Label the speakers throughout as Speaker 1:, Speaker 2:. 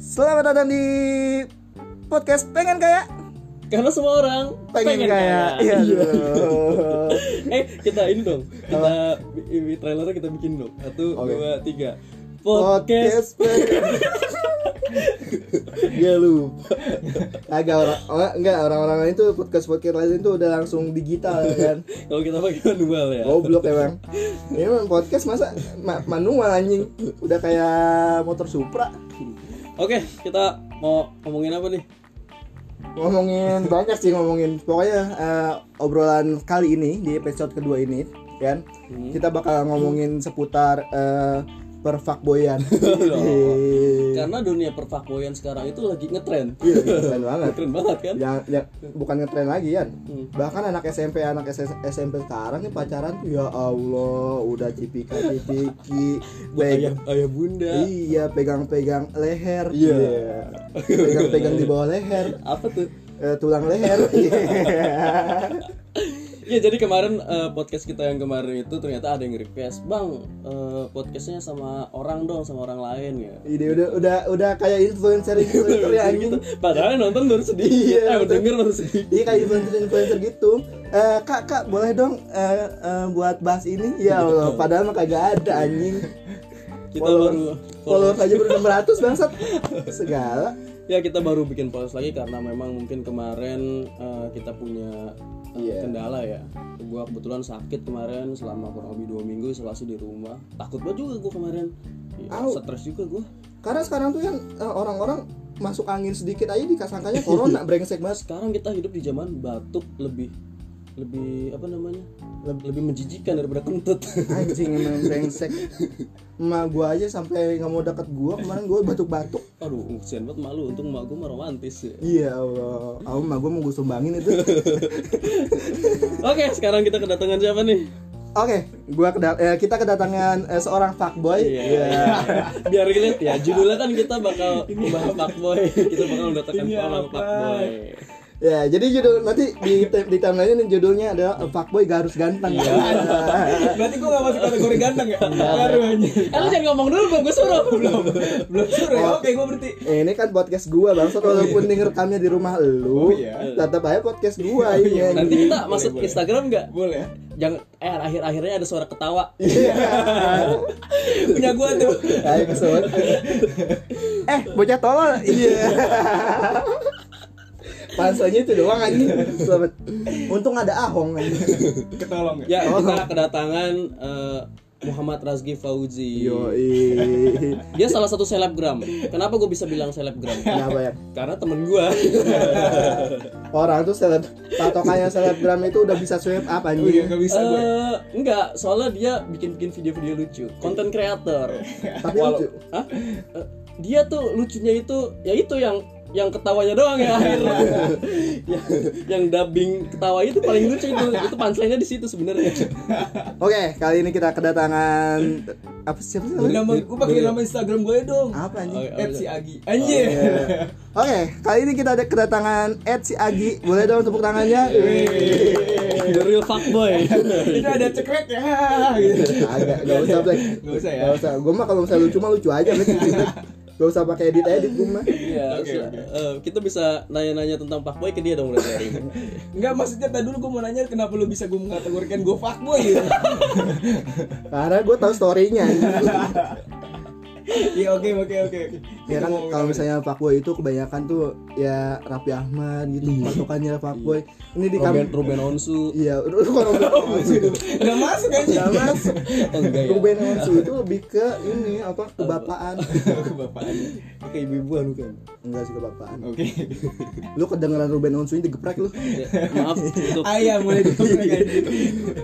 Speaker 1: Selamat datang di podcast pengen kaya
Speaker 2: Karena semua orang pengen, kaya.
Speaker 1: Iya.
Speaker 2: eh kita ini dong kita ini trailernya kita bikin dong satu
Speaker 3: Oke.
Speaker 2: dua tiga
Speaker 3: podcast
Speaker 2: podcast
Speaker 3: dia lupa agak orang orang- enggak orang-orang lain tuh podcast podcast lain tuh udah langsung digital kan
Speaker 2: kalau kita pakai manual ya
Speaker 3: goblok emang ini emang podcast masa ma- manual anjing udah kayak motor supra
Speaker 2: oke kita mau ngomongin apa nih
Speaker 3: ngomongin banyak sih ngomongin pokoknya eh, obrolan kali ini di episode kedua ini kan
Speaker 2: Hmm.
Speaker 3: kita bakal ngomongin seputar eh, perfakboyan Iya,
Speaker 2: karena dunia perfakboyan sekarang itu lagi ngetren
Speaker 3: keren banget
Speaker 2: ngetren banget kan
Speaker 3: yang, yang bukan ngetren lagi kan
Speaker 2: Hmm.
Speaker 3: bahkan anak SMP anak SS SMP sekarang nih pacaran tuh ya Allah udah cipika cipiki
Speaker 2: buat ayah
Speaker 3: pegang
Speaker 2: ayah bunda
Speaker 3: gitu. iya pegang-pegang leher
Speaker 2: Iya.
Speaker 3: Iya. pegang-pegang di bawah leher
Speaker 2: apa tuh
Speaker 3: Eh, tulang leher Iya.
Speaker 2: Ya jadi kemarin eh, podcast kita yang kemarin itu ternyata ada yang request Bang eh, podcastnya sama orang dong sama orang lain ya
Speaker 3: Ide udah udah udah kayak influencer influencer ya anjing
Speaker 2: gitu. Padahal yang nonton baru sedikit
Speaker 3: Iya,
Speaker 2: Eh
Speaker 3: betul.
Speaker 2: denger baru sedikit
Speaker 3: Iya kayak influencer influencer gitu. Eh kak kak boleh dong eh, eh, buat bahas ini? Ya Allah, padahal mah kagak ada anjing.
Speaker 2: Iya, Kita baru-
Speaker 3: followers aja baru 600 bangsat. Segala.
Speaker 2: Ya kita baru bikin podcast lagi karena memang mungkin kemarin eh, kita punya eh,
Speaker 3: Iya.
Speaker 2: kendala ya Gua kebetulan sakit kemarin selama kurang lebih dua minggu isolasi di rumah Takut banget juga gua kemarin Ya,
Speaker 3: Au.
Speaker 2: Stres juga gua
Speaker 3: Karena sekarang tuh kan eh, orang-orang masuk angin sedikit aja dikasangkanya corona brengsek banget.
Speaker 2: Nah, Sekarang kita hidup di zaman batuk lebih lebih apa namanya lebih, lebih menjijikan daripada kentut
Speaker 3: Anjing emang brengsek. Ma gua aja sampai nggak mau deket gua kemarin gua batuk-batuk.
Speaker 2: aduh kesian banget malu untung mak gue mah romantis ya.
Speaker 3: Iya Allah. Aku mah gua mau gua sumbangin itu. Iya.
Speaker 2: oke sekarang kita kedatangan siapa nih
Speaker 3: Oke, gua keda- eh, kita kedatangan eh, seorang fuckboy.
Speaker 2: Iya. biar relate ya judulnya kan kita bakal membahas fuckboy kita bakal mendatangkan
Speaker 1: Ini
Speaker 2: orang
Speaker 1: apa?
Speaker 2: fuckboy
Speaker 3: Ya, jadi judul nanti di tem- di timeline judulnya adalah "A Fuckboy Garus Ganteng.
Speaker 1: Berarti gue gak masuk kategori ganteng ya? Baru aja
Speaker 2: eh lu jangan ngomong dulu belum gue suruh belum Oh.
Speaker 1: Belum sure ya? Oke gue berarti
Speaker 3: Eh, ini kan podcast gua bang, walaupun denger rekamnya di rumah
Speaker 1: Oh,
Speaker 3: lu,
Speaker 1: iya.
Speaker 3: tetap aja podcast gua ini.
Speaker 2: iya, nanti kita masuk
Speaker 1: boleh.
Speaker 2: Instagram nggak
Speaker 1: Boleh ya?
Speaker 2: jangan eh akhir akhirnya ada suara ketawa
Speaker 3: Iya.
Speaker 1: Punya gue tuh
Speaker 3: Ayo kesel. Nah, Eh, bocah tolol. Iya. Panselnya itu doang anjing. Selamat. Untung ada Ahong anjing.
Speaker 1: Ketolong ya?
Speaker 2: ya kita kedatangan eh, Muhammad Razgi Fauzi
Speaker 3: Yoi.
Speaker 2: dia salah satu selebgram kenapa gue bisa bilang selebgram
Speaker 3: Kenapa ya?
Speaker 2: karena temen gue
Speaker 3: Orang tuh seleb patokannya selebgram itu udah bisa swipe up
Speaker 1: Oh iya
Speaker 3: anjing.
Speaker 1: gak bisa gue
Speaker 2: Eh, enggak, soalnya dia bikin-bikin video-video lucu, konten kreator.
Speaker 3: Tapi
Speaker 1: Walau-
Speaker 3: lucu.
Speaker 2: Hah? Eh, dia tuh lucunya itu, ya itu yang yang ketawanya doang ya akhirnya. yang, yang dubbing ketawa itu paling lucu itu. Itu punchline-nya di situ sebenarnya.
Speaker 3: Oke, kali ini kita kedatangan apa sih? Apa sih namanya?
Speaker 1: Nama gue pakai nama Instagram gue dong
Speaker 3: Eh,
Speaker 1: Oh, iya,
Speaker 3: Apa anjing?
Speaker 2: Oke,
Speaker 1: At si
Speaker 2: oke.
Speaker 1: Agi Anjir
Speaker 3: Oke, kali ini kita ada kedatangan Ed si Agi. Boleh dong tepuk tangannya?
Speaker 2: The real fuckboy.
Speaker 1: Itu ada cekrek ya gitu.
Speaker 3: Agak, gak usah Black.
Speaker 1: Nggak usah ya?
Speaker 3: Gak usah. Gue mah kalau misalnya lucu mah lucu aja Black. Gak usah pakai edit edit gue mah.
Speaker 2: Iya,
Speaker 1: Oke,
Speaker 2: so-
Speaker 1: oke.
Speaker 2: eh, kita bisa nanya-nanya tentang fuckboy ke dia dong berarti hari
Speaker 3: Iya.
Speaker 2: ini.
Speaker 1: Enggak maksudnya tadi dulu gue mau nanya kenapa lu bisa gue mengategorikan gue fuckboy gitu.
Speaker 3: Karena gue tahu storynya.
Speaker 1: Iya oke oke oke oke.
Speaker 3: ya kan kalau misalnya fuckboy itu kebanyakan tuh ya Raffi Ahmad gitu
Speaker 1: Iya.
Speaker 3: patokannya fuckboy. Ini di
Speaker 2: Ruben,
Speaker 3: kampung.
Speaker 2: Ruben Onsu.
Speaker 3: Iya, lu kalau
Speaker 1: Oh, iya. enggak masuk anjing.
Speaker 3: Gak masuk.
Speaker 2: Oh, enggak
Speaker 1: iya.
Speaker 2: ya.
Speaker 3: Iya. Ruben Onsu itu lebih ke ini apa kebapaan.
Speaker 1: Bapak.
Speaker 2: Oke, ibu-ibuan bukan.
Speaker 3: Enggak sih kebapaan.
Speaker 1: Oke.
Speaker 3: Lu kedengeran Ruben Onsu ini digeprek lu.
Speaker 2: Ya, maaf untuk
Speaker 1: Ayah Ah, iya, mulai ditutup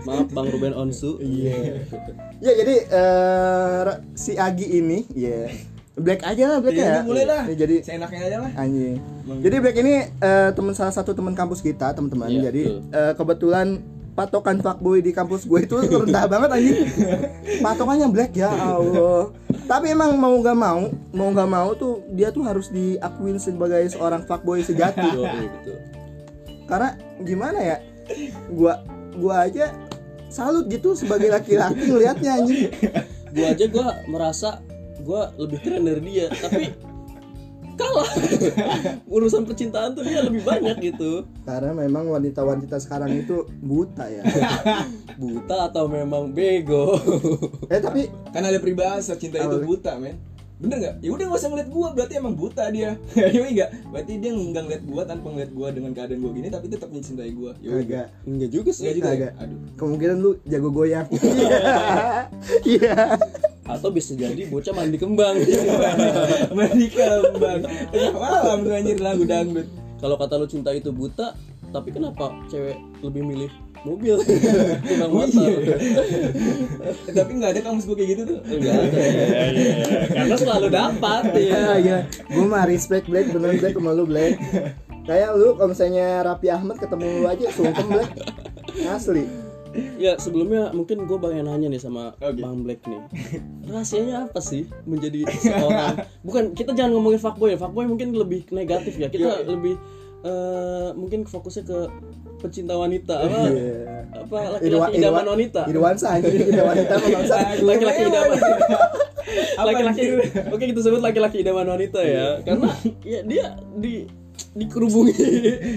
Speaker 2: maaf Bang Ruben Onsu.
Speaker 3: Iya.
Speaker 1: Iya.
Speaker 3: Ya jadi eh, Ra- si Agi ini ya Black aja lah Black ya.
Speaker 1: Iya, mulai lah.
Speaker 3: Ya, jadi
Speaker 1: Seenaknya aja lah.
Speaker 3: anjing. Jadi Black ini eh, teman salah satu teman kampus kita teman-teman.
Speaker 2: gitu. Iya,
Speaker 3: jadi
Speaker 2: betul.
Speaker 3: eh, kebetulan patokan fuckboy di kampus gue itu rendah banget anjing. Patokannya Black ya Allah. Tapi emang mau gak mau, mau gak mau tuh dia tuh harus diakuin sebagai seorang fuckboy sejati.
Speaker 2: Yo, iya, betul.
Speaker 3: karena gimana ya gua gua aja salut gitu sebagai laki-laki ngelihatnya anjing
Speaker 2: gua aja gua merasa gua lebih keren dari dia tapi kalah urusan percintaan tuh dia lebih banyak gitu
Speaker 3: Karena memang wanita-wanita sekarang itu buta ya.
Speaker 2: buta atau memang bego
Speaker 3: eh tapi
Speaker 1: Kan ada peribahasa cinta itu buta, men. Bener nggak? Ya udah nggak usah ngeliat gua, berarti emang buta dia. Iya enggak? Berarti dia nggak ngeliat gua tanpa ngeliat gua dengan keadaan gua gini, tapi tetap mencintai gua. Iya enggak?
Speaker 3: agak
Speaker 2: enggak juga
Speaker 1: Enggak
Speaker 2: sih
Speaker 1: juga. ya?
Speaker 3: Kagak.
Speaker 1: Aduh.
Speaker 3: kemungkinan lu jago goyang. Iya.
Speaker 2: atau bisa jadi bocah mandi kembang
Speaker 1: Mandi kembang. Tengah malam tuh anjir lagu dangdut.
Speaker 2: kalau kata lu cinta itu buta tapi kenapa cewek lebih milih mobil ketimbang
Speaker 1: Oh,
Speaker 2: motor
Speaker 1: iya. Eh, Tapi nggak ada kamus gua kayak gitu tuh.
Speaker 2: Enggak ada.
Speaker 1: iya,
Speaker 2: karena selalu dapat ya
Speaker 3: Ya, gila. Gue mah respect Black, bener Black sama lu Black. Kayak lu kalau misalnya Raffi Ahmad ketemu lu aja sungkem Black. Asli.
Speaker 2: ya sebelumnya mungkin gue pengen nanya nih sama
Speaker 1: Oke.
Speaker 2: bang Black nih rahasianya apa sih menjadi seorang bukan kita jangan ngomongin fuckboy ya fuckboy mungkin lebih negatif
Speaker 3: Iya,
Speaker 2: ya kita
Speaker 1: Yoi.
Speaker 2: lebih eh, mungkin fokusnya ke pecinta wanita
Speaker 1: Oh.
Speaker 2: apa
Speaker 3: Iya.
Speaker 2: apa
Speaker 3: Irwa-
Speaker 2: laki-laki idaman
Speaker 3: Irwa-
Speaker 2: wanita
Speaker 3: Irwansa anjing tidak wanita sama bangsa.
Speaker 2: laki-laki idaman
Speaker 1: Apa
Speaker 2: laki-laki
Speaker 1: anjir?
Speaker 2: oke kita sebut laki-laki idaman wanita
Speaker 3: Iya.
Speaker 2: ya karena ya dia di dikerubungi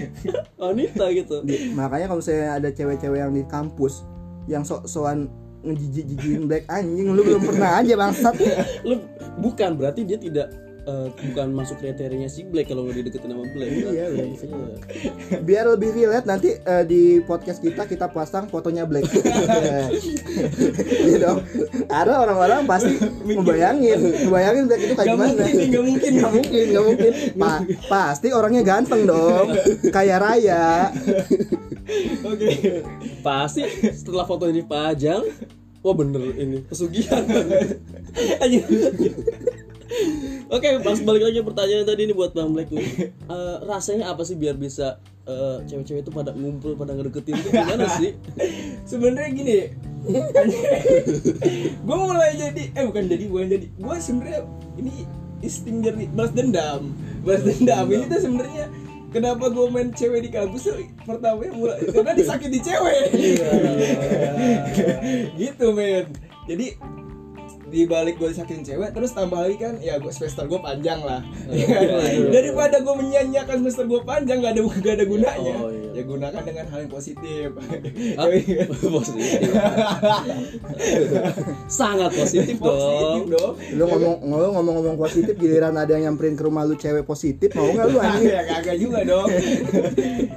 Speaker 2: wanita gitu
Speaker 3: Di- Makanya kalau misalnya ada cewek-cewek yang di kampus yang sok-sokan ngejijik-jijikin Black anjing lu belum pernah aja bangsat.
Speaker 2: lu bukan berarti dia tidak eh, bukan masuk kriterianya si Black kalau nggak dideketin sama Black
Speaker 3: Iya,
Speaker 2: berarti.
Speaker 3: brengsek. Biar lebih relate nanti eh, di podcast kita kita pasang fotonya Black. Iya dong. Karena orang-orang pasti membayangin, membayangin Black itu kayak
Speaker 1: Gak
Speaker 3: gimana.
Speaker 1: mungkin nih, gak mungkin.
Speaker 3: Gak mungkin, gak mungkin. Pa- pasti orangnya ganteng dong. Kayak raya.
Speaker 1: Oke.
Speaker 2: pasti setelah foto ini dipajang wah bener ini pesugihan Anjing. Oke, pas balik lagi pertanyaan tadi nih buat Bang Black nih. Eh, rasanya apa sih biar bisa eh, cewek-cewek itu pada ngumpul pada ngedeketin tuh gimana sih?
Speaker 1: sebenarnya gini gue mulai jadi eh bukan jadi bukan jadi gue sebenarnya ini insting jadi balas dendam balas dendam ini tuh sebenarnya kenapa gue main cewek di kampus tuh pertama mulai karena disakiti cewek
Speaker 2: Iya.
Speaker 1: gitu men jadi di balik gue disakitin cewek terus tambah lagi kan ya gue semester gue panjang lah
Speaker 2: Oh,
Speaker 1: Ya kan?
Speaker 2: iya,
Speaker 1: daripada gue menyanyiakan semester gue panjang gak ada gak ada gunanya
Speaker 2: Oh, iya.
Speaker 1: ya gunakan dengan hal yang positif
Speaker 3: Iya.
Speaker 1: Iya kan?
Speaker 2: Hah? positif. Sangat positif dong.
Speaker 1: positif dong
Speaker 3: Lu ngomong lu ngomong-ngomong positif giliran ada yang nyamperin ke rumah lu cewek positif mau nggak lu anjing?
Speaker 1: ya kagak juga dong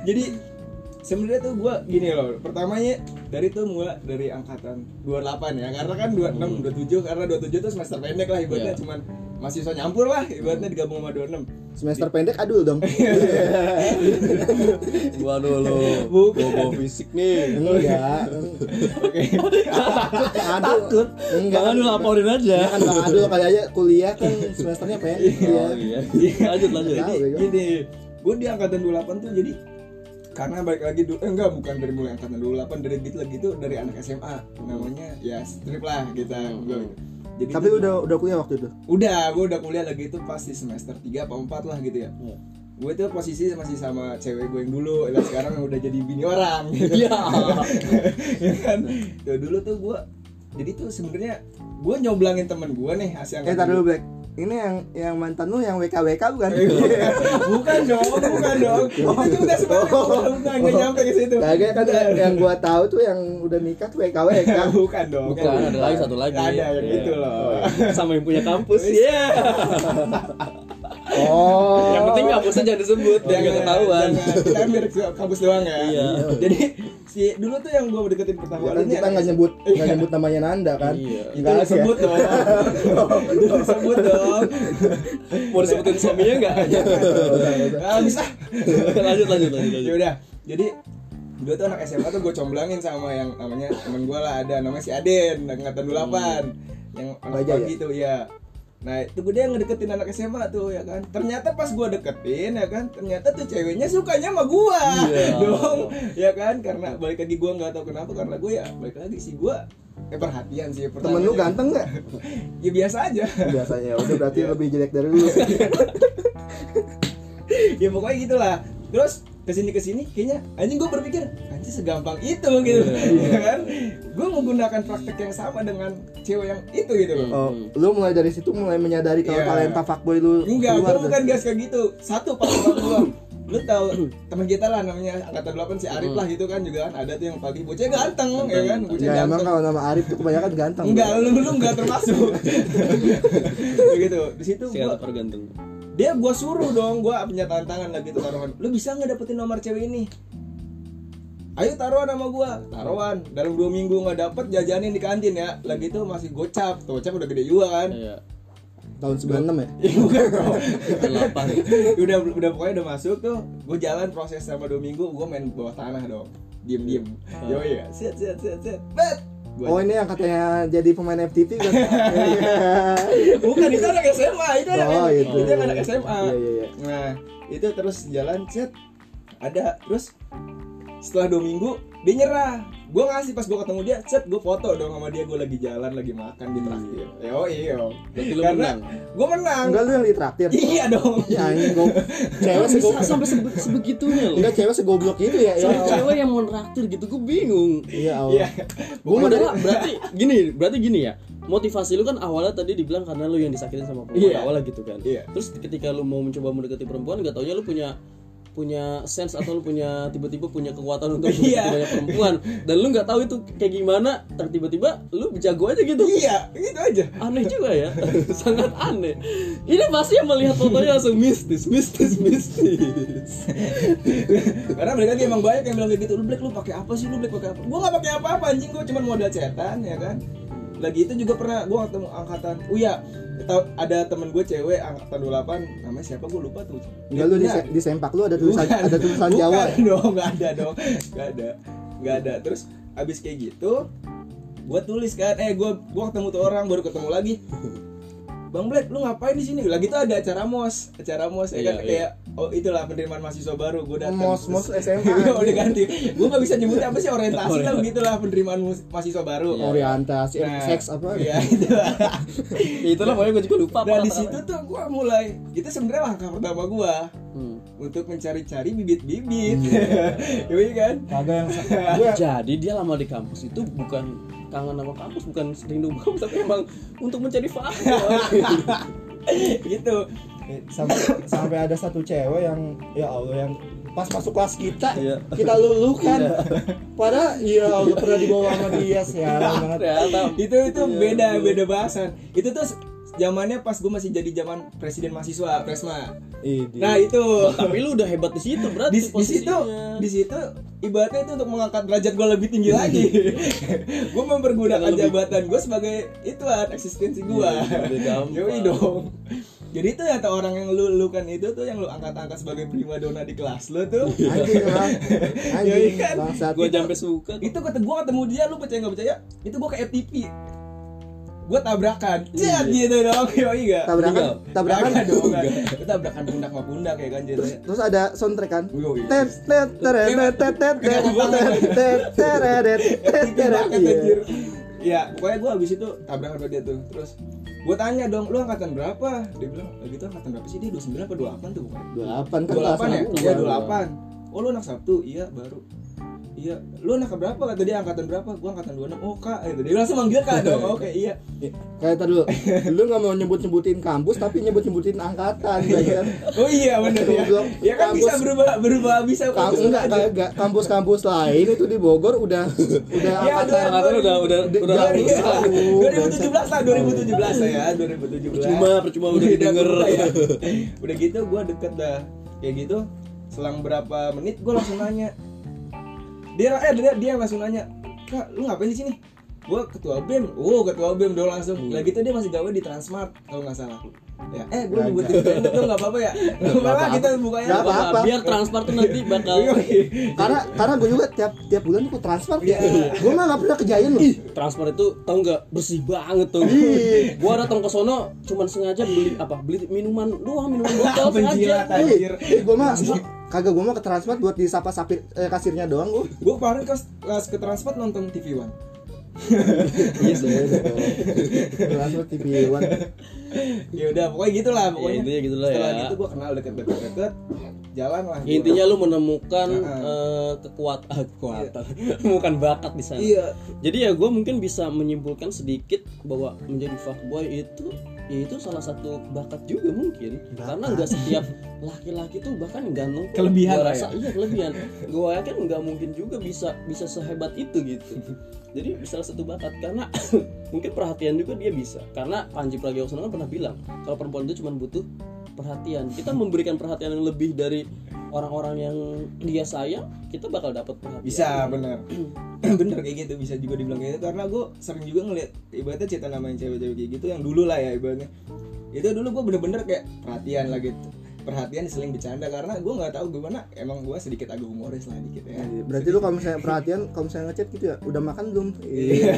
Speaker 1: jadi sebenarnya tuh gua gini loh pertamanya dari tuh mulai dari angkatan 28 ya karena kan 26 27 karena 27 tuh semester pendek lah
Speaker 2: Hmm.
Speaker 1: ibaratnya
Speaker 2: Iya.
Speaker 1: cuman masih bisa nyampur lah ibaratnya digabung sama 26
Speaker 3: Semester pendek adul dong.
Speaker 2: Gua dulu.
Speaker 1: Bukan.
Speaker 2: Bobo fisik nih.
Speaker 3: Enggak.
Speaker 1: oke
Speaker 3: Adul. Enggak.
Speaker 2: Jangan lu laporin
Speaker 3: Ya
Speaker 2: aja.
Speaker 3: kan Bang Adul kali aja kuliah kan semesternya pendek ya.
Speaker 2: Oh, iya. Lanjut lanjut.
Speaker 3: Tahu,
Speaker 1: gitu. jadi
Speaker 3: bego.
Speaker 1: gini gue di angkatan 28 tuh jadi karena balik lagi dulu eh, enggak bukan dari mulai angkatan 28 dari gitu lagi tuh dari anak SMA namanya ya strip lah kita
Speaker 2: Hmm.
Speaker 1: gua- jadi
Speaker 3: Tapi
Speaker 1: tuh-
Speaker 3: udah udah kuliah waktu itu.
Speaker 1: udah gue udah kuliah lagi itu pas di semester 3 apa 4 lah gitu ya gue tuh posisi masih sama cewek gue yang dulu dan sekarang yang udah jadi bini orang gitu.
Speaker 2: Iya.
Speaker 1: ya kan Tuh, dulu tuh gue jadi tuh sebenarnya gue nyoblangin temen gue nih asli
Speaker 3: Eh
Speaker 1: angkatan
Speaker 3: tar dulu Black. Ini yang yang mantan lu yang WKWK bukan?
Speaker 1: Iya. bukan dong bukan dong itu udah sebalik bukan nggak nyampe ke situ
Speaker 3: Kagak kan yang gua tahu tuh yang udah nikah tuh WKWK.
Speaker 1: bukan dong kan?
Speaker 2: Bukan, ada lagi satu lagi.
Speaker 1: ada yang
Speaker 2: Iya.
Speaker 1: itu loh
Speaker 2: Sama yang punya kampus. Iya.
Speaker 3: Oh.
Speaker 2: Yang penting kampusnya jangan disebut, biar nggak ketahuan.
Speaker 1: Oh, iya. jangan. kita ambil ke kampus doang ya
Speaker 2: Iya.
Speaker 1: jadi si dulu tuh yang gue deketin pertama
Speaker 3: Ya
Speaker 1: kali
Speaker 3: kan
Speaker 1: ini
Speaker 3: kita nggak nyebut nggak nyebut namanya Nanda kan?
Speaker 2: Iya.
Speaker 1: itu disebut dong itu disebut dong Iya.
Speaker 2: Mau disebutin suaminya enggak?
Speaker 1: ah bisa
Speaker 2: lanjut lanjut lanjut.
Speaker 3: Iya,
Speaker 1: ya
Speaker 2: lanjut.
Speaker 1: udah jadi dulu tuh anak SMA tuh gue comblangin sama yang namanya temen gue lah ada namanya si Aden angkatan 28
Speaker 3: Hmm.
Speaker 1: yang anak
Speaker 3: Baja
Speaker 1: pagi tuh ya nah itu gue dia ngedeketin anak SMA tuh ya kan ternyata pas gue deketin ya kan ternyata tuh ceweknya sukanya sama gue
Speaker 2: Iya.
Speaker 1: dong ya kan karena balik lagi gue nggak tahu kenapa karena gue ya balik lagi sih gue eh perhatian sih
Speaker 3: Temen lu
Speaker 1: pertamanya.
Speaker 3: ganteng nggak?
Speaker 1: ya biasa aja
Speaker 3: Biasanya ya udah
Speaker 1: Iya.
Speaker 3: berarti lebih jelek dari lu.
Speaker 1: ya pokoknya gitulah terus kesini kesini kayaknya anjing gue berpikir anjing segampang itu gitu
Speaker 3: Iya,
Speaker 1: ya kan gue menggunakan praktek yang sama dengan cewek yang itu gitu loh
Speaker 3: Oh, lu mulai dari situ mulai menyadari kalau
Speaker 1: Iya.
Speaker 3: talenta fuckboy lu
Speaker 1: enggak gue
Speaker 3: keluar tuh.
Speaker 1: bukan gas kayak gitu satu pas gue lu tahu teman kita lah namanya angkatan 8 si Arif lah gitu kan juga kan ada tuh yang pagi bocah ganteng ya kan bocah
Speaker 3: Ya emang
Speaker 1: ganteng
Speaker 3: kalau nama Arif tuh kebanyakan ganteng.
Speaker 1: enggak lu lu enggak termasuk begitu di situ
Speaker 2: segala
Speaker 1: gua-
Speaker 2: tergantung
Speaker 1: dia gua suruh dong gua punya tantangan lagi tuh taruhan lu bisa nggak dapetin nomor cewek ini ayo taruhan sama gua taruhan dalam dua minggu nggak dapet jajanin di kantin ya lagi itu masih gocap tuh gocap udah gede juga kan
Speaker 2: ya
Speaker 3: Tahun 96 ya.
Speaker 1: Ih, bukan bro.
Speaker 2: delapan
Speaker 3: Iya.
Speaker 1: udah udah pokoknya udah masuk tuh gue jalan proses sama dua minggu gue main bawah tanah dong diem diem yo ya set set set set bet Gua-
Speaker 3: Ah. Oh ini yang katanya jadi pemain FTV kan?
Speaker 1: bukan itu anak SMA itu anak
Speaker 3: Oh, itu.
Speaker 1: itu. yang anak SMA
Speaker 3: Iya, iya, iya.
Speaker 1: nah itu terus jalan set ada terus setelah dua minggu dia nyerah gue ngasih pas gue ketemu dia set gue foto dong sama dia gue lagi jalan lagi makan di traktir yo iya
Speaker 2: Berarti lu
Speaker 1: karena
Speaker 2: menang.
Speaker 1: gue menang
Speaker 3: Enggak lu yang ditraktir.
Speaker 1: iya dong
Speaker 3: Ya ini gua cewek
Speaker 2: sampai,
Speaker 3: sego-
Speaker 2: sampai sebe- sebegitunya loh
Speaker 3: enggak cewek segoblok itu ya. Ya.
Speaker 2: Sampai cewek yang mau nraktir gitu gue bingung
Speaker 3: Iya, Allah.
Speaker 1: iya
Speaker 2: gue mau dari berarti gini berarti gini ya motivasi lu kan awalnya tadi dibilang karena lu yang disakitin sama perempuan
Speaker 1: Iya.
Speaker 2: awalnya gitu kan
Speaker 1: Iya.
Speaker 2: terus ketika lu mau mencoba mendekati perempuan gak taunya lu punya punya sense atau lu punya tiba-tiba punya kekuatan untuk mendekati
Speaker 1: Iya.
Speaker 2: banyak perempuan dan lu nggak tahu itu kayak gimana dan tiba-tiba lu jago aja gitu
Speaker 1: iya gitu aja
Speaker 2: aneh juga ya sangat aneh ini pasti yang melihat fotonya langsung mistis mistis mistis
Speaker 1: Karena mereka tuh emang banyak yang bilang kayak gitu, lu Black lu pakai apa sih? Lu Black pakai apa? Gua nggak pakai apa-apa anjing, gua cuman modal cetan ya kan. Lagi itu juga pernah gua ketemu angkatan Uya. Tau- ada temen gue cewek angkatan 28 namanya siapa gue lupa tuh.
Speaker 3: Enggak lu di,
Speaker 1: Nah,
Speaker 3: di sempak lu ada tulisan
Speaker 1: Bukan.
Speaker 3: ada tulisan
Speaker 1: Bukan
Speaker 3: Jawa. ya?
Speaker 1: dong, nggak ada dong, nggak ada, nggak ada. Terus abis kayak gitu, gue tulis kan, eh gue gua ketemu tuh orang baru ketemu lagi. Bang Black, lu ngapain di sini? Lagi tuh ada acara mos, acara mos, ya
Speaker 2: Iya,
Speaker 1: kan
Speaker 2: iya.
Speaker 1: kayak oh itulah penerimaan mahasiswa baru. Gue datang.
Speaker 3: Mos- mos SMA.
Speaker 1: Iya, udah ganti. Gue nggak bisa nyebutnya apa sih orientasi lah, begitulah penerimaan mus- mahasiswa baru.
Speaker 2: Iya.
Speaker 3: Orientasi, Iya. ya, seks apa?
Speaker 1: Iya itu.
Speaker 2: ya itulah pokoknya gue juga lupa
Speaker 1: Nah
Speaker 2: apa
Speaker 1: di
Speaker 2: kata-
Speaker 1: situ tuh gue mulai, itu sebenarnya langkah pertama gue
Speaker 2: Hmm.
Speaker 1: untuk mencari-cari bibit-bibit, Iya kan?
Speaker 3: Kagak yang gua
Speaker 1: Iya.
Speaker 2: Jadi dia lama di kampus itu bukan kangen sama kampus, bukan rindu kampus, tapi emang untuk mencari faktor.
Speaker 1: gitu
Speaker 3: Eh, sampai sampai ada satu cewek yang ya Allah yang pas masuk kelas kita
Speaker 2: Iya.
Speaker 3: kita lulukan
Speaker 1: Iya.
Speaker 3: padahal ya Allah pernah dibawa sama dia sialan banget
Speaker 1: Iya.
Speaker 2: Ternyata
Speaker 1: itu itu
Speaker 2: Iya,
Speaker 1: beda beda bahasan itu tuh s- zamannya pas gue masih jadi zaman presiden mahasiswa presma
Speaker 3: Idi.
Speaker 1: nah itu
Speaker 2: tapi lu udah hebat di situ berarti
Speaker 1: di, di situ
Speaker 2: Nah, posisinya.
Speaker 1: di situ ibaratnya itu untuk mengangkat derajat gue lebih tinggi lagi gue mempergunakan jabatan gue sebagai ituan eksistensi gue
Speaker 2: Iya, lebih gampang.
Speaker 1: yoi dong jadi itu ya tuh orang yang lu lukan itu tuh yang lu angkat-angkat sebagai prima dona di kelas lu tuh
Speaker 3: anjing bang
Speaker 1: Yoi
Speaker 3: anjing
Speaker 1: kan?
Speaker 3: bangsat
Speaker 2: Gua sampai suka.
Speaker 1: itu kata gue ketemu dia lu percaya nggak percaya itu gue ke FTP gue tabrakan Cet, gitu dong yoi gak
Speaker 3: Iya. tabrakan tabrakan
Speaker 1: Tabrakan dong kan. Itu tabrakan pundak sama pundak ya kan iya. jadi.
Speaker 3: terus ada soundtrack kan
Speaker 1: Yoi.
Speaker 3: tet tet teret, tet tet tet tet tet teret, tet
Speaker 1: Tipis
Speaker 3: teret.
Speaker 1: banget
Speaker 3: Iya.
Speaker 1: anjir. Iya, pokoknya gue abis itu tabrakan sama dia tuh. Terus gue tanya dong, lu angkatan berapa? Dia bilang, "Lagi itu angkatan berapa sih? Dia 29 apa 28 tuh bukan?"
Speaker 3: 28 kan kelas
Speaker 1: 28 ya?
Speaker 3: satu.
Speaker 1: Iya, 28. Oh, lu anak Sabtu? Iya, baru. Iya, lu anak berapa? Kata dia angkatan berapa? Gua angkatan 26. Oh, Kak. Gitu. Dia langsung manggil Kak dong. Oke, iya.
Speaker 3: Eh, kayak tadi dulu lu nggak mau nyebut nyebutin kampus tapi nyebut nyebutin angkatan kan
Speaker 1: Oh iya benar ya.
Speaker 3: Goblok.
Speaker 1: Ya kan bisa
Speaker 3: Kampus.
Speaker 1: berubah berubah bisa
Speaker 3: Kamu enggak,
Speaker 1: aja.
Speaker 3: enggak kampus-kampus lain itu di Bogor udah udah
Speaker 1: Ya,
Speaker 3: angkatan
Speaker 1: dua-
Speaker 2: Angkatan udah udah
Speaker 3: Di-
Speaker 2: udah
Speaker 3: dari-
Speaker 2: ratusan.
Speaker 1: 2017 lah 2017 lah ya 2017
Speaker 2: Percuma, percuma udah didengar.
Speaker 1: ya. udah gitu gua deket dah kayak gitu selang berapa menit gua langsung nanya dia eh dia, dia yang langsung nanya kak lu ngapain di sini gua ketua bem oh ketua bem dong langsung lagi itu dia masih gawe di Transmart kalau nggak salah ya eh gua nyebutin brand itu nggak apa-apa ya nggak apa-apa Iya. kita ya. bukanya
Speaker 3: Nggak
Speaker 2: Apa,
Speaker 3: apa-apa.
Speaker 2: biar transfer tuh nanti bakal
Speaker 3: karena karena gue juga tiap tiap bulan gue transfer
Speaker 1: Iya,
Speaker 3: ya. gue mah nggak pernah kejain loh
Speaker 2: transfer itu tau nggak bersih banget tuh
Speaker 1: Iya.
Speaker 2: gua datang ke sono cuman sengaja beli apa beli minuman doang minuman botol
Speaker 1: Penjilat,
Speaker 2: sengaja
Speaker 1: anjir.
Speaker 3: gue mah kagak gue mah ke transfer buat disapa sapir eh, kasirnya doang gue
Speaker 1: gua kemarin eh, ke, ke Transmart nonton TV One
Speaker 3: iya sih Jelas seperti Biwan.
Speaker 1: ya udah pokoknya gitulah pokoknya
Speaker 2: intinya gitu lah
Speaker 1: setelah
Speaker 2: ya.
Speaker 1: gitu gue kenal deket-deket deket jalan lah gua.
Speaker 2: Intinya lu menemukan
Speaker 1: Iya. Heeh.
Speaker 2: eh, kekuatan ah, kekuatan, menemukan bakat di sana.
Speaker 1: iya
Speaker 2: Jadi ya gue mungkin bisa menyimpulkan sedikit bahwa menjadi fuckboy itu ya itu salah satu bakat juga mungkin karena nggak setiap laki-laki tuh bahkan ganteng tuh
Speaker 1: Kelebihan
Speaker 2: gua
Speaker 1: lah ya.
Speaker 2: rasa iya kelebihan gue yakin nggak mungkin juga bisa bisa sehebat itu gitu jadi salah satu bakat karena mungkin perhatian juga dia bisa karena Panji Pragiwaksono kan pernah bilang kalau perempuan itu cuma butuh perhatian kita memberikan perhatian yang lebih dari orang-orang yang dia sayang kita bakal dapat perhatian
Speaker 1: bisa bener bener kayak gitu bisa juga dibilang kayak gitu karena gue sering juga ngeliat ibaratnya cerita namain cewek-cewek kayak gitu yang dulu lah ya ibaratnya itu dulu gue bener-bener kayak perhatian lah gitu perhatian seling bercanda karena gue nggak tahu gimana emang gue sedikit agak humoris lah dikit ya
Speaker 3: Iya, Berarti lu kalau misalnya perhatian, kalau misalnya ngechat gitu ya, udah makan belum? Iya.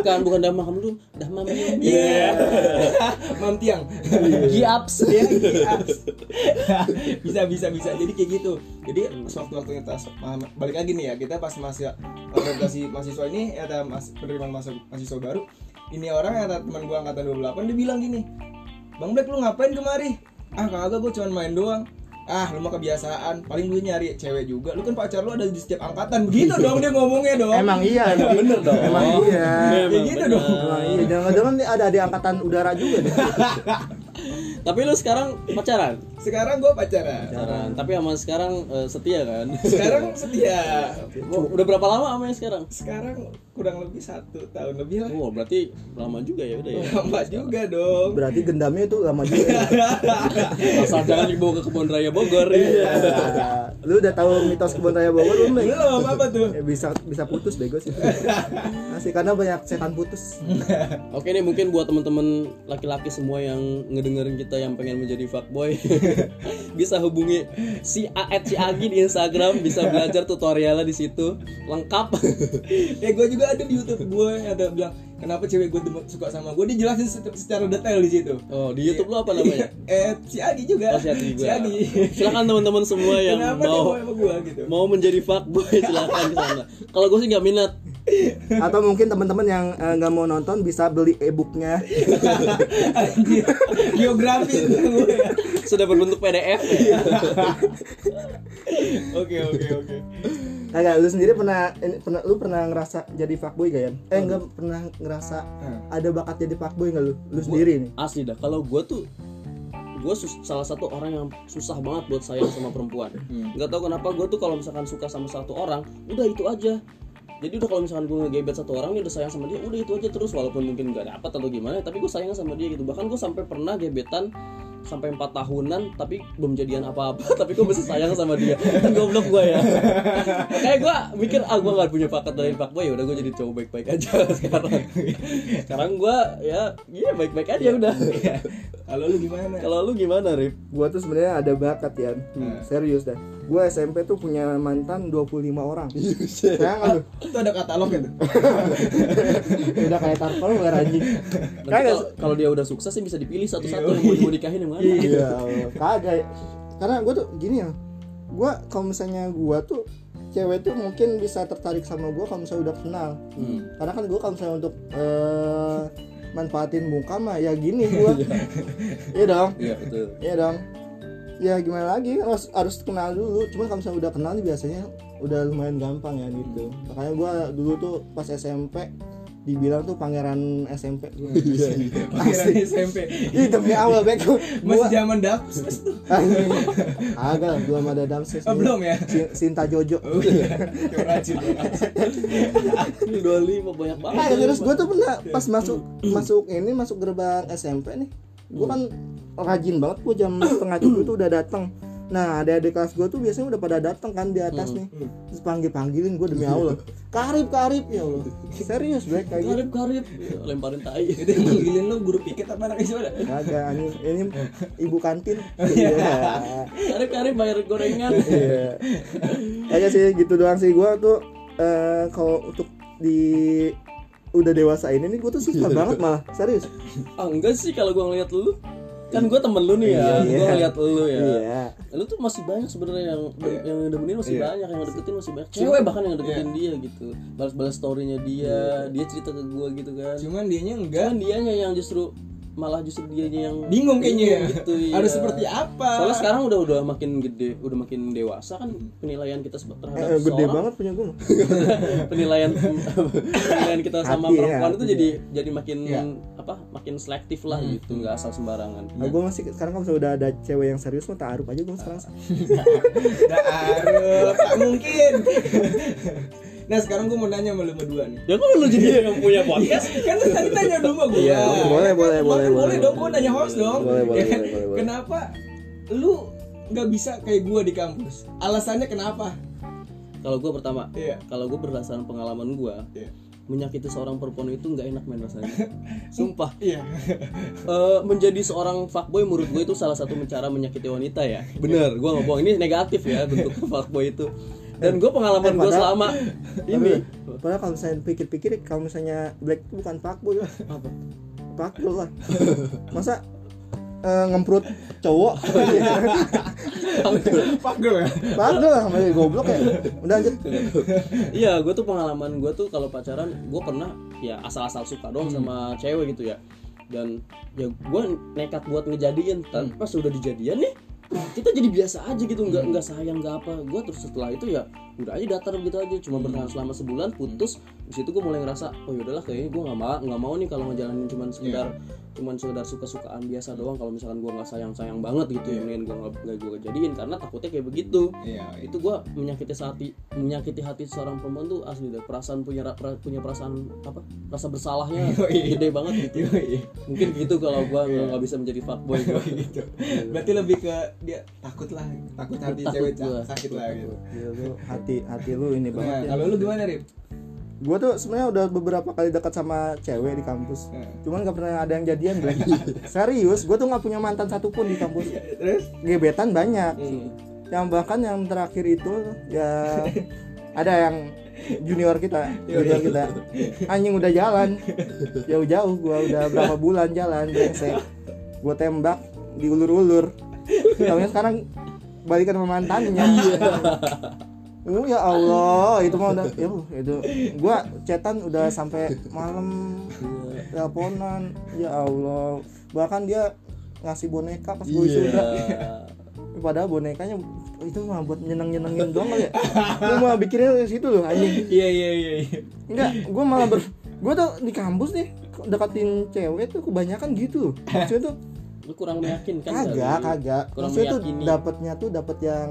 Speaker 2: bukan bukan dah makam lu dah mama
Speaker 1: Iya, mam tiang,
Speaker 2: Iya.
Speaker 1: giaps ya, giaps. bisa bisa bisa. Jadi kayak gitu. Jadi
Speaker 3: Hmm.
Speaker 1: pas waktu-waktunya tas ma- balik lagi nih ya kita pas masih orientasi mahasiswa ini eh, ada mas penerimaan mahasiswa, mahasiswa baru. Ini orang ada teman gua angkatan 28 dia bilang gini, Bang Black lu ngapain kemari? Ah kagak gua cuman main doang. Ah lu mah kebiasaan, paling lu nyari cewek juga. Lu kan pacar lu ada di setiap angkatan. Begitu dong dia ngomongnya dong.
Speaker 3: Emang iya, emang bener dong. Emang iya.
Speaker 1: Kayak gitu
Speaker 2: bener.
Speaker 1: dong.
Speaker 3: Emang iya. Jangan-jangan nih ada di angkatan udara juga deh.
Speaker 2: tapi lu sekarang pacaran
Speaker 1: Sekarang gua pacaran.
Speaker 2: pacaran tapi sama sekarang eh, setia kan
Speaker 1: Sekarang setia.
Speaker 2: Gua- udah berapa lama sama yang sekarang
Speaker 1: sekarang kurang lebih satu tahun lebih lah
Speaker 2: oh berarti lama juga ya udah ya
Speaker 3: Iya,
Speaker 1: lama juga dong
Speaker 3: Berarti gendamnya itu lama juga. ya.
Speaker 2: asal jangan dibawa ke kebun raya Bogor iya
Speaker 3: Nah, lu udah tahu mitos kebun raya Bogor belum? Bang?
Speaker 1: belum apa tuh
Speaker 3: Ya, bisa bisa putus bego sih. Masih karena banyak setan putus.
Speaker 2: oke nih mungkin buat teman-teman laki-laki semua yang ngedengerin kita yang pengen menjadi fuckboy bisa hubungi si Aet si Agi di Instagram bisa belajar tutorialnya di situ lengkap
Speaker 1: ya gue juga ada di YouTube gue ada bilang kenapa cewek gue suka sama gue dijelasin se- secara detail di situ
Speaker 2: oh di YouTube lu apa namanya
Speaker 1: eh si Adi juga
Speaker 2: Oh, si Adi
Speaker 1: si
Speaker 2: gua.
Speaker 1: Adi
Speaker 2: silakan teman-teman semua yang
Speaker 1: kenapa dia
Speaker 2: mau
Speaker 1: mau sama gue gitu
Speaker 2: mau menjadi fuckboy silakan ke sana. Kalau gue sih nggak minat.
Speaker 3: Atau mungkin teman-teman yang eh, nggak mau nonton bisa beli e-booknya.
Speaker 1: Anjir, geografi itu gue ya.
Speaker 2: Sudah berbentuk PDF ya.
Speaker 1: oke oke oke
Speaker 3: Kagak, lu sendiri pernah ini- pernah lu pernah ngerasa jadi fuckboy gak ya? Eh enggak pernah ngerasa
Speaker 1: Hmm.
Speaker 3: ada bakat jadi fuckboy gak lu? Lu sendiri nih.
Speaker 2: Asli dah. Kalau gue tuh gue salah satu orang yang susah banget buat sayang sama perempuan. Nggak tahu kenapa gue tuh kalau misalkan suka sama satu orang, udah itu aja. Jadi udah kalau misalkan gue ngegebet satu orang, ya udah sayang sama dia, udah itu aja terus walaupun mungkin nggak dapat atau gimana, tapi gue sayang sama dia gitu. Bahkan gue sampai pernah gebetan sampai empat tahunan tapi belum jadian apa-apa tapi gue masih sayang sama dia kan goblok gue ya kayak gue mikir ah gue gak punya paket dari pak ya udah gue jadi cowok baik-baik aja sekarang sekarang gue ya iya baik-baik aja udah
Speaker 1: kalau lu gimana
Speaker 2: kalau lu gimana Rip
Speaker 3: Gua tuh sebenarnya ada bakat ya. Hmm, Serius dah. Gua SMP tuh punya mantan 25 orang. Sayang nggak lu?
Speaker 1: itu ada katalog gitu? itu
Speaker 3: Udah kayak tarpol nggak anjing.
Speaker 2: Nanti
Speaker 3: Kagak.
Speaker 2: kalau- kalau dia udah sukses sih bisa dipilih satu-satu yang mau mau nikahin yang mana
Speaker 3: Iya, kagak. Karena gua tuh gini ya. Gua kalau misalnya gua tuh cewek tuh mungkin bisa tertarik sama gua kalau misalnya udah kenal. Karena kan gua kalau misalnya untuk eh, manfaatin muka mah ya gini gua. Iya dong.
Speaker 2: iya betul
Speaker 3: Iya dong. Ya gimana lagi harus, harus kenal dulu. Cuman kalau misalnya udah kenal nih biasanya udah lumayan gampang ya gitu. Makanya gua dulu tuh pas SMP dibilang tuh pangeran SMP.
Speaker 1: pangeran
Speaker 3: Asli.
Speaker 1: SMP
Speaker 3: Ih demi awal beko.
Speaker 1: iya. masih
Speaker 3: Gua
Speaker 1: zaman dapus tuh
Speaker 3: agak lah, belum ada damsis.
Speaker 1: Oh, belum ya?
Speaker 3: Si- Sinta Jojo.
Speaker 1: oh iya racun
Speaker 2: ini dua lima banyak banget
Speaker 3: Nah, terus gue tuh pernah pas masuk masuk ini masuk gerbang SMP nih, gue kan rajin banget gue jam setengah tujuh tuh udah datang. Nah, ada adik kelas gue tuh biasanya udah pada datang kan di atas
Speaker 1: Hmm,
Speaker 3: nih. Terus panggil panggilin gue demi Allah. Karib karib ya Allah. Serius gue kayak gitu.
Speaker 2: karib karib lemparin tai
Speaker 1: itu yang manggilin lu guru piket apa anak gimana
Speaker 3: Kagak anjing. Ini ibu kantin.
Speaker 1: Iya.
Speaker 2: karib karib bayar gorengan
Speaker 3: Iya. Kayaknya sih gitu doang sih gua tuh eh kalau untuk di Iya. udah dewasa ini nih gue tuh suka banget malah serius
Speaker 2: ah enggak sih kalau gue ngeliat lu kan gue temen lu nih ya
Speaker 3: Iya.
Speaker 2: gue ngeliat lu ya
Speaker 3: Iya.
Speaker 2: lu tuh masih banyak sebenarnya yang yang demenin masih
Speaker 1: Iya.
Speaker 2: banyak yang deketin masih banyak cewek bahkan yang deketin dia gitu balas-balas storynya dia
Speaker 1: Iya.
Speaker 2: dia cerita ke gue gitu kan
Speaker 1: cuman dianya enggak
Speaker 2: cuman dianya yang justru malah justru dianya yang
Speaker 1: bingung kayaknya ya.
Speaker 2: gitu, iya.
Speaker 1: harus seperti apa
Speaker 2: soalnya sekarang udah udah makin gede udah makin dewasa kan penilaian kita sebe- terhadap
Speaker 3: Eh, gede
Speaker 2: seorang
Speaker 3: banget punya gue.
Speaker 2: penilaian penilaian kita sama
Speaker 3: Hati ya, Hmm.
Speaker 2: perempuan itu
Speaker 3: hati
Speaker 2: jadi jadi makin apa makin selektif lah gitu nggak asal sembarangan
Speaker 3: Nah, gue masih sekarang kalau misalnya udah ada cewek yang serius mah taruh aja gue sekarang.
Speaker 1: Daruh, tak mungkin nah sekarang gue mau nanya sama lu berdua nih
Speaker 2: ya kok lu jadi yang punya
Speaker 1: Iya,
Speaker 2: podcast
Speaker 1: kan lu tadi tanya dulu sama gue.
Speaker 2: Iya,
Speaker 3: boleh, boleh, boleh,
Speaker 1: boleh
Speaker 3: boleh.
Speaker 1: dong, gue nanya host dong.
Speaker 3: Boleh, boleh,
Speaker 1: Ya kan?
Speaker 3: boleh, boleh, boleh.
Speaker 1: Kenapa lu nggak bisa kayak gue di kampus? Alasannya kenapa?
Speaker 2: kalau gue pertama
Speaker 1: Iya.
Speaker 2: kalau gue berdasarkan pengalaman gue
Speaker 1: Iya.
Speaker 2: menyakiti seorang perempuan itu nggak enak main rasanya sumpah
Speaker 1: Iya.
Speaker 2: Eh, menjadi seorang fuckboy menurut gue itu salah satu cara menyakiti wanita ya bener gue ngomong ini negatif ya bentuk fuckboy itu dan gue
Speaker 3: Eh,
Speaker 2: pengalaman gue
Speaker 3: padahal-
Speaker 2: selama ini
Speaker 3: Padahal kalau misalnya pikir-pikir kalau misalnya Black itu bukan fuckboy lah.
Speaker 2: apa
Speaker 3: Fuckboy lah. Masa eh, ngemprut cowok
Speaker 1: Pagel ya.
Speaker 3: Fuckboy lah sama dia, goblok ya. Udah lanjut.
Speaker 2: Iya, gue tuh pengalaman gue tuh kalau pacaran gue pernah ya asal-asal suka doang sama cewek gitu ya. Dan ya gue nekat buat ngejadian, tapi pas udah dijadian nih kita jadi biasa aja gitu nggak nggak sayang nggak apa gue terus setelah itu ya udah aja datar gitu aja cuma bertahan selama sebulan putus di situ gue mulai ngerasa oh yaudahlah kayaknya gue nggak mau nggak mau nih kalau ngejalanin cuman sekedar cuman sekedar suka sukaan biasa doang kalau misalkan gue nggak sayang sayang banget gitu ya mendingan gue nggak gue jadiin karena takutnya kayak begitu
Speaker 1: Iya.
Speaker 2: itu gua menyakiti hati menyakiti hati seorang perempuan tuh asli deh perasaan punya ra- pra- punya perasaan apa rasa bersalahnya
Speaker 1: Yoi.
Speaker 2: gede banget gitu
Speaker 1: Yoi.
Speaker 2: mungkin gitu kalau gua
Speaker 3: Iya.
Speaker 2: gua nggak bisa menjadi fuckboy gua
Speaker 1: Gitu. Berarti lebih ke dia takut lah, takut hati
Speaker 2: Takut
Speaker 1: cewek
Speaker 2: gua.
Speaker 1: sakit lah gitu.
Speaker 3: Iya, lu hati hati lu ini
Speaker 1: Nah,
Speaker 3: banget. ya.
Speaker 1: kalau lu gimana, Rip?
Speaker 3: Gue tuh sebenarnya udah beberapa kali dekat sama cewek di kampus.
Speaker 1: Nah,
Speaker 3: Cuman gak pernah ada yang jadian Black. Serius, gue tuh gak punya mantan satupun di kampus.
Speaker 1: Terus?
Speaker 3: Gebetan banyak. yang bahkan yang terakhir itu ya ada yang junior kita junior kita anjing udah jalan jauh-jauh gua udah berapa bulan jalan brengsek gua tembak diulur-ulur tahunya sekarang balikan sama mantannya Oh, ya Allah, itu mah udah ya Allah, itu gua cetan udah sampai malam teleponan. Ya Allah. Bahkan dia ngasih boneka pas gua
Speaker 2: iya
Speaker 3: wisuda. Padahal bonekanya itu mah buat nyeneng-nyenengin doang kali ya. Gue mah bikinnya dari situ loh anjing.
Speaker 1: Iya iya iya. iya.
Speaker 3: Enggak, gue malah ber gue tuh di kampus nih deketin cewek tuh kebanyakan gitu loh. Maksudnya tuh
Speaker 2: lu kurang meyakinkan kali.
Speaker 3: kagak, kagak.
Speaker 2: Kan kurang
Speaker 3: Maksudnya tuh
Speaker 2: meyakini.
Speaker 3: dapatnya tuh dapat yang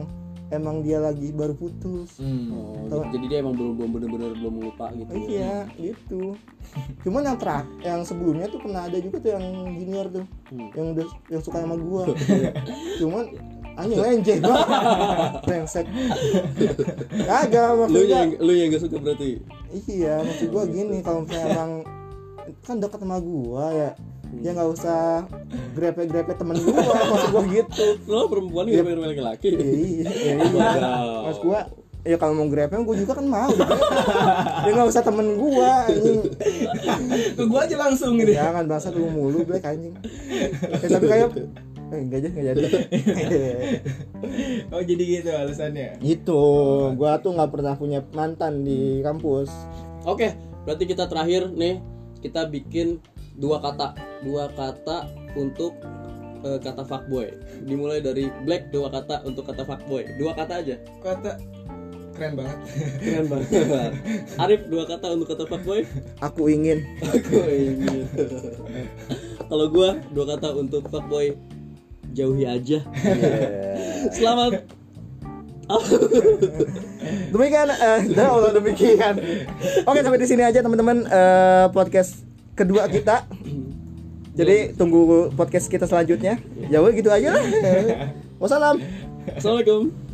Speaker 3: emang dia lagi baru putus.
Speaker 2: Oh, gitu. jadi dia emang belum belum bener-bener belum lupa gitu
Speaker 3: Iya, gitu. Cuman yang terak, yang sebelumnya tuh pernah ada juga tuh yang junior tuh,
Speaker 2: Hmm.
Speaker 3: yang udah yang suka sama gua. Cuman anjing lenceng banget. Brengsek. Kagak
Speaker 2: lu
Speaker 3: maksudnya.
Speaker 2: yang lu yang gak suka berarti
Speaker 3: Iya, maksud gua gini kalau misalnya emang kan dekat sama gua ya. Ya nggak usah grepe-grepe temen gua maksud gua gitu.
Speaker 2: lu perempuan gak pengen laki-laki
Speaker 3: Iya, iya, iya. Mas gua ya kalau mau grepe gua juga kan mau. ya nggak usah temen gua anjing.
Speaker 1: Ke gua aja langsung gitu.
Speaker 3: Jangan bahasa lu mulu black anjing. Ya, tapi kayak eh, enggak aja enggak jadi.
Speaker 1: Oh, jadi gitu alasannya.
Speaker 3: gitu, gua tuh nggak pernah punya mantan di kampus.
Speaker 2: Oke, berarti kita terakhir nih kita bikin dua kata, dua kata untuk eh, kata fuckboy. Dimulai dari black dua kata untuk kata fuckboy. Dua kata aja.
Speaker 1: Kata keren banget.
Speaker 2: Keren banget. Arif dua kata untuk kata fuckboy.
Speaker 3: Aku ingin
Speaker 2: Aku ingin. Kalau gua dua kata untuk fuckboy jauhi aja. Selamat.
Speaker 3: demikian eh ya Allah demikian. Oke, sampai di sini aja teman-teman eh, podcast kedua kita. Jadi Ya, tunggu podcast kita selanjaunya. Jauh gitu aja lah. Wassalam.
Speaker 2: Assalamualaikum.